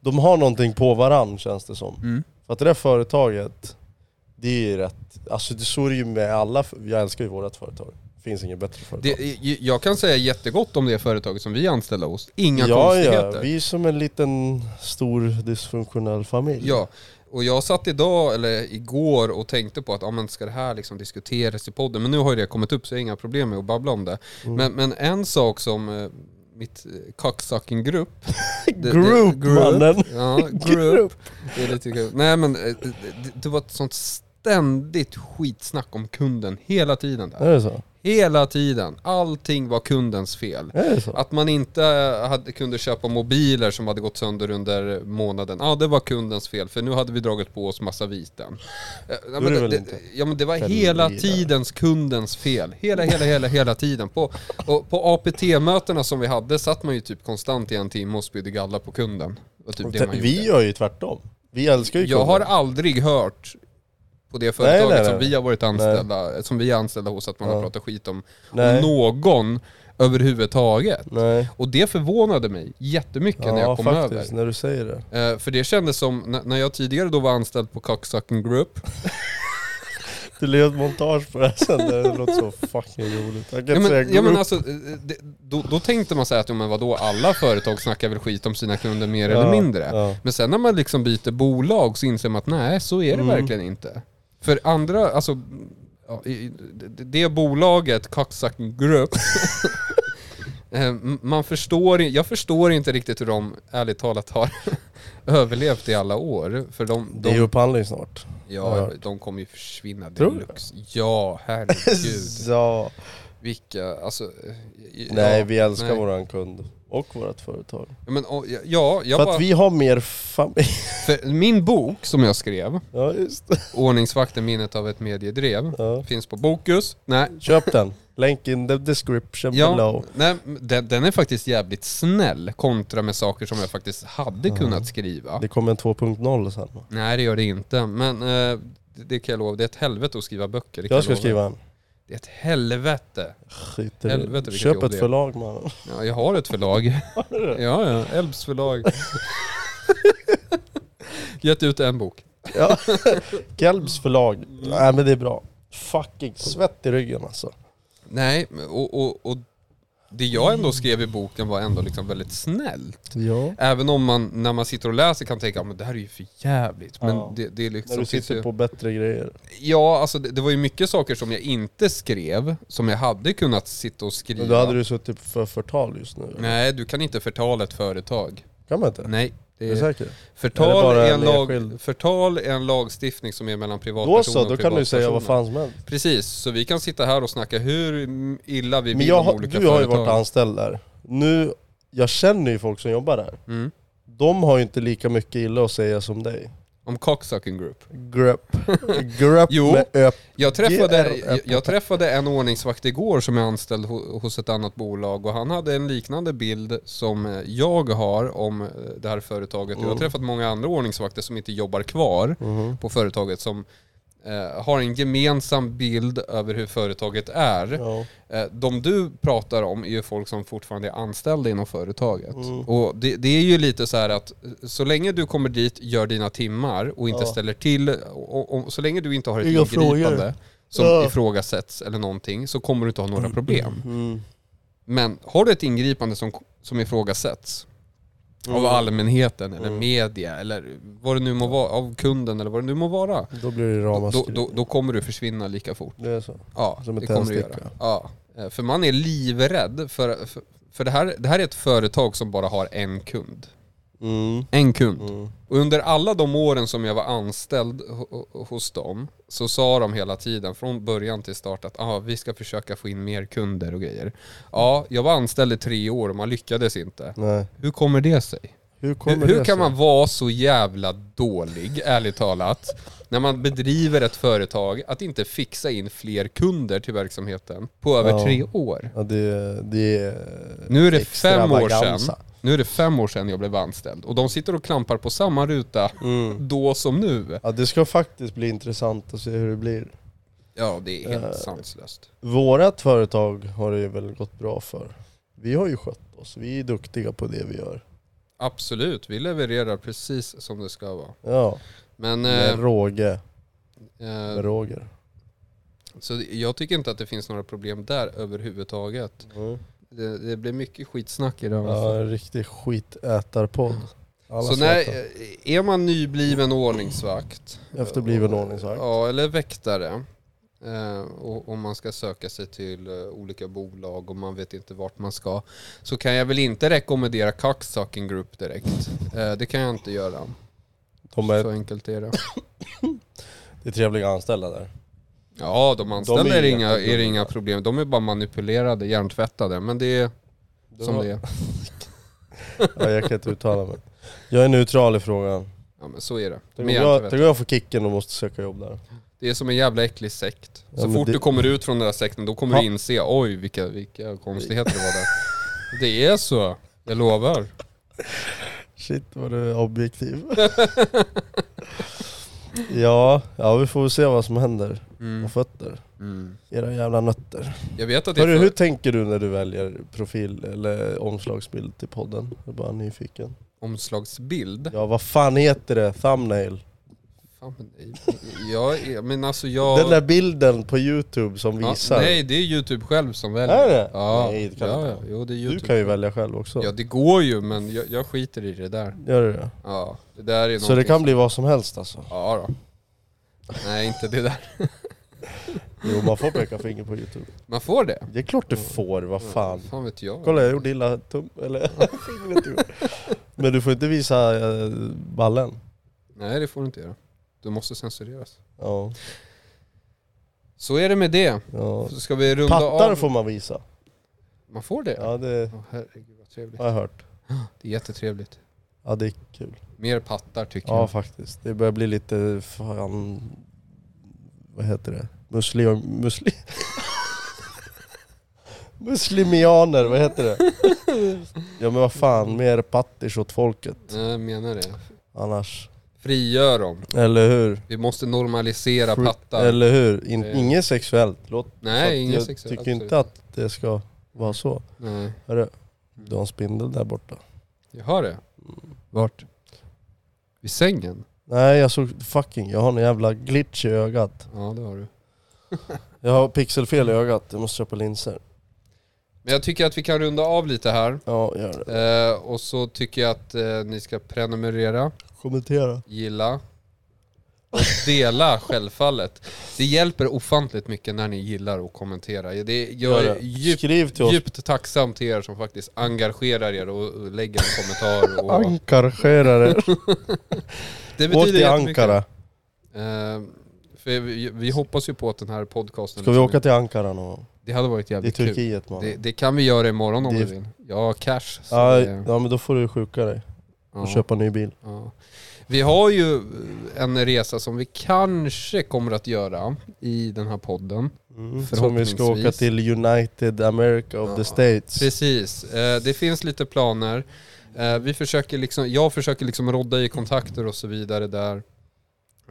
Speaker 2: de har någonting på varann känns det som.
Speaker 1: Mm.
Speaker 2: För att det där företaget, det är ju rätt, alltså det så är det ju med alla, för- jag älskar ju vårat företag. Finns inget bättre företag.
Speaker 1: Det, jag kan säga jättegott om det företaget som vi är anställda hos. Inga
Speaker 2: ja,
Speaker 1: konstigheter.
Speaker 2: ja, vi är som en liten stor dysfunktionell familj.
Speaker 1: Ja, och jag satt idag, eller igår, och tänkte på att ah, men ska det här liksom diskuteras i podden? Men nu har ju det kommit upp så jag har inga problem med att babbla om det.
Speaker 2: Mm.
Speaker 1: Men, men en sak som eh, mitt eh, cocksucking-grupp... det- det-
Speaker 2: Group, mannen.
Speaker 1: Ja, group. Det är lite kul. Nej men eh, det, det- det var ett sånt ständigt skitsnack om kunden hela tiden där.
Speaker 2: Är det så?
Speaker 1: Hela tiden. Allting var kundens fel.
Speaker 2: Är det så?
Speaker 1: Att man inte hade, kunde köpa mobiler som hade gått sönder under månaden, ja det var kundens fel för nu hade vi dragit på oss massa viten. Eh, Ja,
Speaker 2: är det
Speaker 1: men,
Speaker 2: väl
Speaker 1: det,
Speaker 2: inte?
Speaker 1: ja, men det var
Speaker 2: Kan
Speaker 1: hela
Speaker 2: vi där?
Speaker 1: tidens kundens fel. Hela, hela, hela, hela tiden. På, och på APT-mötena som vi hade satt man ju typ konstant i en timme och spydde galla på kunden. Det var typ det man
Speaker 2: Vi
Speaker 1: gjorde.
Speaker 2: gör ju tvärtom. Vi älskar ju
Speaker 1: Jag har
Speaker 2: kunder.
Speaker 1: aldrig hört på det företaget
Speaker 2: nej,
Speaker 1: som
Speaker 2: nej.
Speaker 1: vi har varit anställda, som vi är anställda hos, att man har
Speaker 2: Ja.
Speaker 1: pratat skit om
Speaker 2: Nej.
Speaker 1: någon överhuvudtaget.
Speaker 2: Nej.
Speaker 1: Och det förvånade mig jättemycket när jag
Speaker 2: Ja
Speaker 1: kom över.
Speaker 2: faktiskt, när du säger det.
Speaker 1: Eh, för det kändes som, n- när jag tidigare då var anställd på Cocksucking Group,
Speaker 2: Du leder ett montage på det här sen, det låter så fucking roligt. Jag kan
Speaker 1: ja,
Speaker 2: inte säga
Speaker 1: men, ja,
Speaker 2: group.
Speaker 1: men alltså, eh, det, då, då tänkte man säga att ja, men vadå, alla företag snackar väl skit om sina kunder mer eller
Speaker 2: Ja,
Speaker 1: mindre.
Speaker 2: ja.
Speaker 1: Men sen när man liksom byter bolag så inser man att nej, så
Speaker 2: Mm.
Speaker 1: är det verkligen inte. För andra, alltså, ja, i- i- det, det bolaget, Cocksucking Group, eh, m- man förstår, i- jag förstår inte riktigt hur de ärligt talat har överlevt i alla år. För de,
Speaker 2: Det är ju
Speaker 1: de,
Speaker 2: upphandling snart.
Speaker 1: ja, de kommer ju försvinna
Speaker 2: Tror du?
Speaker 1: deluxe. Ja, herregud.
Speaker 2: ja.
Speaker 1: Vilka, alltså... eh, i-
Speaker 2: Nej
Speaker 1: ja,
Speaker 2: vi älskar
Speaker 1: nej.
Speaker 2: våran kund och vårt företag.
Speaker 1: Ja, Men, och, ja, ja, jag
Speaker 2: För
Speaker 1: bara,
Speaker 2: att vi har mer familj.
Speaker 1: för min bok som jag skrev,
Speaker 2: Ja just det.
Speaker 1: Ordningsvakten minnet av ett mediedrev,
Speaker 2: Ja.
Speaker 1: finns på Bokus. Nej,
Speaker 2: Köp den. Länk in the description
Speaker 1: ja,
Speaker 2: below.
Speaker 1: nej den, den är faktiskt jävligt snäll kontra med saker som jag faktiskt hade kunnat skriva.
Speaker 2: Det kommer en 2.0 sen.
Speaker 1: Nej, det gör det inte. Men eh, det, det kan jag lova, det är ett helvete att skriva böcker. det kan
Speaker 2: Jag ska
Speaker 1: lova.
Speaker 2: skriva en.
Speaker 1: Det är ett helvete.
Speaker 2: Skit i
Speaker 1: Helvete,
Speaker 2: det.
Speaker 1: vilket
Speaker 2: Köp
Speaker 1: jobb det
Speaker 2: ett
Speaker 1: är.
Speaker 2: förlag mannen.
Speaker 1: Ja, jag har ett förlag. Ja, ja. Elbs förlag. Gett ut en bok.
Speaker 2: Ja. Gelbs förlag. Nej men det är bra. Fucking svett i ryggen alltså.
Speaker 1: Nej, och, och, och det jag ändå skrev i boken var ändå liksom väldigt snällt.
Speaker 2: Ja.
Speaker 1: Även om man när man sitter och läser kan tänka att det här är ju för jävligt. Men
Speaker 2: Ja.
Speaker 1: det, det är liksom...
Speaker 2: När du
Speaker 1: finns
Speaker 2: sitter
Speaker 1: ju,
Speaker 2: på bättre grejer.
Speaker 1: Ja, alltså det, det var ju mycket saker som jag inte skrev, som jag hade kunnat sitta och skriva.
Speaker 2: Men då hade du suttit för förtal just nu.
Speaker 1: Nej, du kan inte förtala ett företag.
Speaker 2: Kan man inte?
Speaker 1: Nej.
Speaker 2: Är du
Speaker 1: Det är,
Speaker 2: säker? Är det
Speaker 1: förtal,
Speaker 2: bara
Speaker 1: är en
Speaker 2: en
Speaker 1: lag,
Speaker 2: enskild?
Speaker 1: förtal är en lagstiftning som är mellan privatpersoner
Speaker 2: Då så, då
Speaker 1: och
Speaker 2: kan du säga vad
Speaker 1: privatpersoner.
Speaker 2: fan som helst.
Speaker 1: Precis, så vi kan sitta här och snacka hur illa vi
Speaker 2: Men
Speaker 1: vill
Speaker 2: jag,
Speaker 1: om
Speaker 2: har-
Speaker 1: olika
Speaker 2: du har ju
Speaker 1: företag.
Speaker 2: varit anställd där. Nu, jag känner ju folk som jobbar där.
Speaker 1: Mm.
Speaker 2: De har ju inte lika mycket illa att säga som dig.
Speaker 1: Om Cocksucking Group.
Speaker 2: Grupp. Grupp
Speaker 1: Jo.
Speaker 2: med öpp.
Speaker 1: Jag träffade,
Speaker 2: GR.
Speaker 1: jag, jag träffade en ordningsvakt igår som är anställd ho, hos ett annat bolag och han hade en liknande bild som eh, jag har om eh, det här företaget. Jag har träffat många andra ordningsvakter som inte jobbar kvar på företaget som eh, har en gemensam bild över hur företaget är.
Speaker 2: Ja.
Speaker 1: Eh, De du pratar om är ju folk som fortfarande är anställda inom företaget.
Speaker 2: Mm.
Speaker 1: Och det, det är ju lite så här att eh, så länge du kommer dit, gör dina timmar och inte
Speaker 2: Ja.
Speaker 1: ställer till, och, och, så länge du inte har ett
Speaker 2: Inga
Speaker 1: ingripande
Speaker 2: frågor.
Speaker 1: som
Speaker 2: Ja.
Speaker 1: ifrågasätts eller någonting så kommer du inte ha några problem.
Speaker 2: Mm.
Speaker 1: Men har du ett ingripande som, som ifrågasätts
Speaker 2: Mm.
Speaker 1: av allmänheten eller media eller vad det nu må vara, av kunden eller vad det nu må vara,
Speaker 2: Då blir det
Speaker 1: då, då,
Speaker 2: ramaskri.
Speaker 1: då, då kommer du försvinna lika fort.
Speaker 2: Det är så.
Speaker 1: Ja,
Speaker 2: Som en
Speaker 1: det kommer du göra.
Speaker 2: tändsticka.
Speaker 1: Ja. Eh, För man är livrädd för, för, för det, här, det här är ett företag som bara har en kund.
Speaker 2: Mm.
Speaker 1: En kund.
Speaker 2: Mm.
Speaker 1: Och under alla de åren som jag var anställd ho- ho- hos dem så sa de hela tiden från början till start att ah, vi ska försöka få in mer kunder och grejer. Ja, jag var anställd i tre år och man lyckades inte.
Speaker 2: Nej.
Speaker 1: Hur kommer det sig?
Speaker 2: Hur kommer
Speaker 1: Hur,
Speaker 2: det
Speaker 1: hur kan
Speaker 2: sig?
Speaker 1: man vara så jävla dålig, ärligt talat, när man bedriver ett företag, att inte fixa in fler kunder till verksamheten på över
Speaker 2: Ja.
Speaker 1: tre år?
Speaker 2: Ja, det, det är...
Speaker 1: Nu är det fem år sedan.
Speaker 2: extravaganza.
Speaker 1: Nu är det fem år sedan jag blev anställd och de sitter och klampar på samma ruta då som nu.
Speaker 2: Mm. Ja, det ska faktiskt bli intressant att se hur det blir.
Speaker 1: Ja, det är helt
Speaker 2: Eh.
Speaker 1: sanslöst.
Speaker 2: Vårat företag har det ju väl gått bra för. Vi har ju skött oss, vi är duktiga på det vi gör.
Speaker 1: Absolut, vi levererar precis som det ska vara.
Speaker 2: Ja,
Speaker 1: Men
Speaker 2: med
Speaker 1: eh,
Speaker 2: råge.
Speaker 1: eh,
Speaker 2: Med Roger.
Speaker 1: så jag tycker inte att det finns några problem där överhuvudtaget. Det, det blir mycket skitsnack idag.
Speaker 2: Mm. Ja, en riktig skitätarpodd. Alla
Speaker 1: Så
Speaker 2: söta.
Speaker 1: när, är man nybliven ordningsvakt,
Speaker 2: Efterbliven ordningsvakt.
Speaker 1: eh, ja, eller väktare, eh, och, och man ska söka sig till eh, olika bolag och man vet inte vart man ska, så kan jag väl inte rekommendera Cocksucking Group direkt. Eh, det kan jag inte göra.
Speaker 2: De
Speaker 1: Så
Speaker 2: är,
Speaker 1: enkelt är det.
Speaker 2: det är trevliga anställda där.
Speaker 1: Ja, de anställda
Speaker 2: De
Speaker 1: är,
Speaker 2: är
Speaker 1: det
Speaker 2: inga
Speaker 1: inga, är det
Speaker 2: problem.
Speaker 1: inga problem. De är bara manipulerade, hjärntvättade. Men det är
Speaker 2: Du
Speaker 1: som
Speaker 2: har-
Speaker 1: det är.
Speaker 2: Ja, jag kan inte uttala mig. Jag är neutral i frågan.
Speaker 1: Ja, men så är det. De
Speaker 2: Tänk
Speaker 1: är
Speaker 2: om jag, tänk
Speaker 1: hjärntvättade.
Speaker 2: om jag får kicken och måste söka jobb där.
Speaker 1: Det är som en jävla äcklig sekt.
Speaker 2: Ja,
Speaker 1: Så
Speaker 2: men
Speaker 1: fort
Speaker 2: det-
Speaker 1: du kommer ut från den där sekten, då kommer
Speaker 2: Ja.
Speaker 1: du inse, oj vilka, vilka konstigheter det var där. Det är så, jag lovar.
Speaker 2: Shit vad du är objektiv. Ja, ja vi får väl se vad som händer.
Speaker 1: Mm.
Speaker 2: Och fötter.
Speaker 1: Mm.
Speaker 2: Era jävla nötter.
Speaker 1: Jag vet att det är
Speaker 2: Hörru,
Speaker 1: för-
Speaker 2: hur tänker du när du väljer profil eller omslagsbild till podden? Jag är bara nyfiken.
Speaker 1: omslagsbild.
Speaker 2: Ja, vad fan heter det? Thumbnail?
Speaker 1: Fan, men- jag är, men alltså jag...
Speaker 2: Den där bilden på youtube som
Speaker 1: ja,
Speaker 2: visar.
Speaker 1: nej, det är YouTube själv som väljer.
Speaker 2: Är det?
Speaker 1: Ja,
Speaker 2: Nej, det kan
Speaker 1: ja,
Speaker 2: du
Speaker 1: ja.
Speaker 2: inte.
Speaker 1: Jo, det är
Speaker 2: du
Speaker 1: YouTube.
Speaker 2: kan ju välja själv också.
Speaker 1: Ja, det går ju, men jag, jag skiter i det där.
Speaker 2: Gör du det?
Speaker 1: Ja, det där är
Speaker 2: Så det
Speaker 1: någonting
Speaker 2: kan bli vad som helst alltså?
Speaker 1: Ja då. Nej, inte det där.
Speaker 2: Jo, man får peka finger på youtube.
Speaker 1: Man får det.
Speaker 2: Det är klart du
Speaker 1: Mm.
Speaker 2: får, vad fan.
Speaker 1: Fan vet jag.
Speaker 2: Kolla jag gjorde illa tum... eller fingret gjorde. Men du får inte visa eh, ballen.
Speaker 1: Nej, det får du inte göra. Du måste censureras.
Speaker 2: Ja.
Speaker 1: Så är det med det.
Speaker 2: ja.
Speaker 1: Så ska vi runda
Speaker 2: Pattar
Speaker 1: av.
Speaker 2: får man visa.
Speaker 1: Man får det? Ja.
Speaker 2: Ja det
Speaker 1: herregud vad trevligt.
Speaker 2: har jag hört.
Speaker 1: Det är jättetrevligt.
Speaker 2: Ja det är kul.
Speaker 1: Mer pattar tycker
Speaker 2: Ja
Speaker 1: jag.
Speaker 2: faktiskt. Det börjar bli lite fan... Vad heter det? Muslim... Muslim... Muslimianer, vad heter det? Ja men vad fan, mer pattis åt folket
Speaker 1: Nej, Jag menar det.
Speaker 2: annars.
Speaker 1: Frigör dem.
Speaker 2: Eller hur?
Speaker 1: Vi måste normalisera
Speaker 2: Fri-
Speaker 1: pattar.
Speaker 2: Eller hur? In,
Speaker 1: Det-
Speaker 2: inget sexuellt. Låt Så att
Speaker 1: Nej, inget
Speaker 2: jag
Speaker 1: sexuellt.
Speaker 2: tycker
Speaker 1: absolut. Mm.
Speaker 2: inte att det ska vara så.
Speaker 1: Nej.
Speaker 2: Hörru, du har en spindel där borta.
Speaker 1: Jag hör det. Vart? Vid sängen?
Speaker 2: Nej jag såg fucking, jag har en jävla glitch i ögat.
Speaker 1: Ja, det har du.
Speaker 2: Jag har pixelfel i ögat, jag måste köpa linser.
Speaker 1: Men jag tycker att vi kan runda av lite här.
Speaker 2: Ja, gör det.
Speaker 1: Eh, och så tycker jag att eh, ni ska prenumerera,
Speaker 2: Kommentera.
Speaker 1: gilla och dela självfallet. Det hjälper ofantligt mycket när ni gillar och kommenterar. Det, jag
Speaker 2: Gör
Speaker 1: är
Speaker 2: det.
Speaker 1: djupt,
Speaker 2: Skriv till oss.
Speaker 1: djupt tacksam till er som faktiskt engagerar er och, och lägger en kommentar. Och,
Speaker 2: Ankarskärare.
Speaker 1: det
Speaker 2: Åk till
Speaker 1: jättemycket.
Speaker 2: Ankara.
Speaker 1: Eh, för vi, vi hoppas ju på att den här podcasten...
Speaker 2: Ska vi åka till Ankara någon gång?
Speaker 1: Det hade varit
Speaker 2: Det är
Speaker 1: jävligt kul.
Speaker 2: Turkiet man.
Speaker 1: Det, det kan vi göra imorgon om
Speaker 2: Det-
Speaker 1: vi vill. Jag har cash. Så
Speaker 2: Ja,
Speaker 1: det-
Speaker 2: ja men då får du sjuka dig och
Speaker 1: ja.
Speaker 2: köpa en ny bil.
Speaker 1: Ja. Vi har ju en resa som vi kanske kommer att göra i den här podden.
Speaker 2: Mm. Som vi ska åka
Speaker 1: Förhoppningsvis.
Speaker 2: till United America of
Speaker 1: Ja.
Speaker 2: the States.
Speaker 1: Precis, Eh, det finns lite planer. Eh, Vi försöker liksom, jag försöker liksom rodda i kontakter och så vidare där.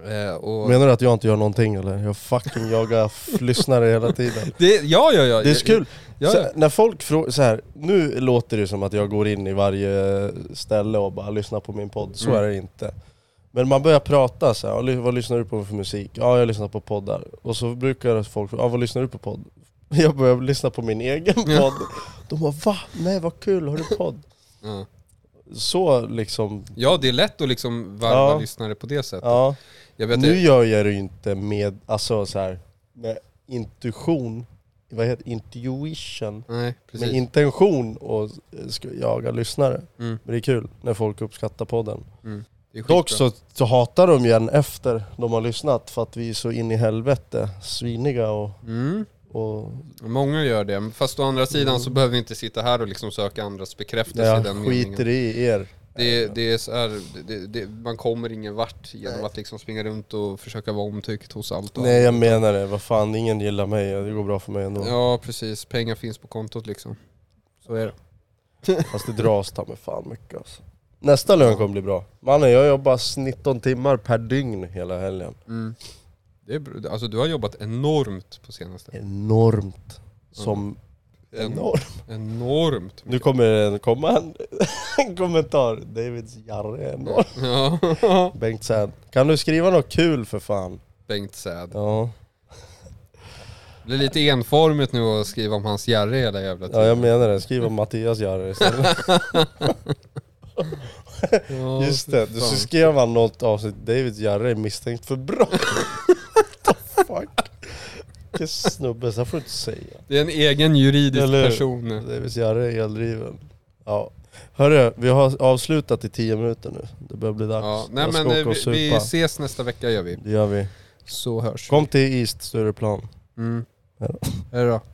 Speaker 1: Eh, Och
Speaker 2: Menar du att jag inte gör någonting eller? Jag fucking jagar f- lyssnare hela tiden.
Speaker 1: det, ja, ja, ja.
Speaker 2: Det är så kul.
Speaker 1: Ja,
Speaker 2: Så,
Speaker 1: ja.
Speaker 2: när folk frågar, så här, nu låter det som att jag går in i varje ställe och bara lyssnar på min podd, så
Speaker 1: Mm.
Speaker 2: är det inte. Men man börjar prata så här, "Ja, ly- vad lyssnar du på för musik? Ja, jag lyssnar på poddar. Och så brukar folk fråga, ja, vad lyssnar du på podd? Jag börjar lyssna på min egen
Speaker 1: Ja.
Speaker 2: podd. De bara, va? Nej vad kul, har du podd?
Speaker 1: Ja.
Speaker 2: Så liksom,
Speaker 1: Ja, det är lätt att liksom varva
Speaker 2: Ja.
Speaker 1: lyssnare på det sättet.
Speaker 2: ja.
Speaker 1: Jag vet
Speaker 2: Nu
Speaker 1: det,
Speaker 2: gör jag det ju inte med, alltså så här, med intuition, vad heter det? Intuition.
Speaker 1: nej,
Speaker 2: med
Speaker 1: precis.
Speaker 2: intention och ska jaga lyssnare.
Speaker 1: Mm,
Speaker 2: Men det är kul när folk uppskattar podden.
Speaker 1: det är skitbra.
Speaker 2: Dock så, så hatar de ju en efter de har lyssnat för att vi är så in i helvete sviniga och,
Speaker 1: Mm.
Speaker 2: och
Speaker 1: Många gör det, fast å andra sidan så behöver vi inte sitta här och liksom söka andras bekräftelse i
Speaker 2: jag
Speaker 1: den meningen.
Speaker 2: skiter Mm. i er.
Speaker 1: Det, det är så här, det, det, man kommer ingen vart genom att liksom springa runt och försöka vara omtyckt hos allt. och
Speaker 2: Nej jag menar det, vad fan ingen gillar mig och det går bra för mig ändå.
Speaker 1: alla. Ja, precis. Pengar finns på kontot liksom. Så är det.
Speaker 2: Fast det dras ta mig fan mycket alltså. Nästa lön kommer bli bra. Mannen jag jobbar 19 timmar per dygn hela helgen.
Speaker 1: Mm. det är, br- alltså, du har jobbat enormt på senaste.
Speaker 2: Enormt. Som enormt.
Speaker 1: Enormt.
Speaker 2: Nu kommer det komma en, en kommentar. Davids jarre är enorm.
Speaker 1: Ja.
Speaker 2: Bengt Säd. Kan du skriva något kul för fan?
Speaker 1: Bengt Säd.
Speaker 2: Ja,
Speaker 1: Det är lite enformigt nu att skriva om hans Jerry hela jävla
Speaker 2: ja jag
Speaker 1: tiden.
Speaker 2: menar det. Skriv om Mattias jarre istället.
Speaker 1: Ja,
Speaker 2: Just det, du
Speaker 1: fan.
Speaker 2: så skrev han något avsnitt. Davids jarre är misstänkt för brott. What the fuck? Vilken snubbe, så här får du inte säga.
Speaker 1: Det är en egen juridisk
Speaker 2: Eller hur?
Speaker 1: person.
Speaker 2: Davids jarre är eldriven. Ja. Hörru, vi har avslutat i 10 minuter nu. Det börjar bli dags.
Speaker 1: Ja. Nej
Speaker 2: jag ska
Speaker 1: men eh,
Speaker 2: åka och
Speaker 1: vi, vi
Speaker 2: supa.
Speaker 1: ses nästa vecka gör vi.
Speaker 2: Det gör vi.
Speaker 1: Så hörs vi.
Speaker 2: Kom till East Stureplan.
Speaker 1: Mm.
Speaker 2: Hej då.
Speaker 1: Hej då.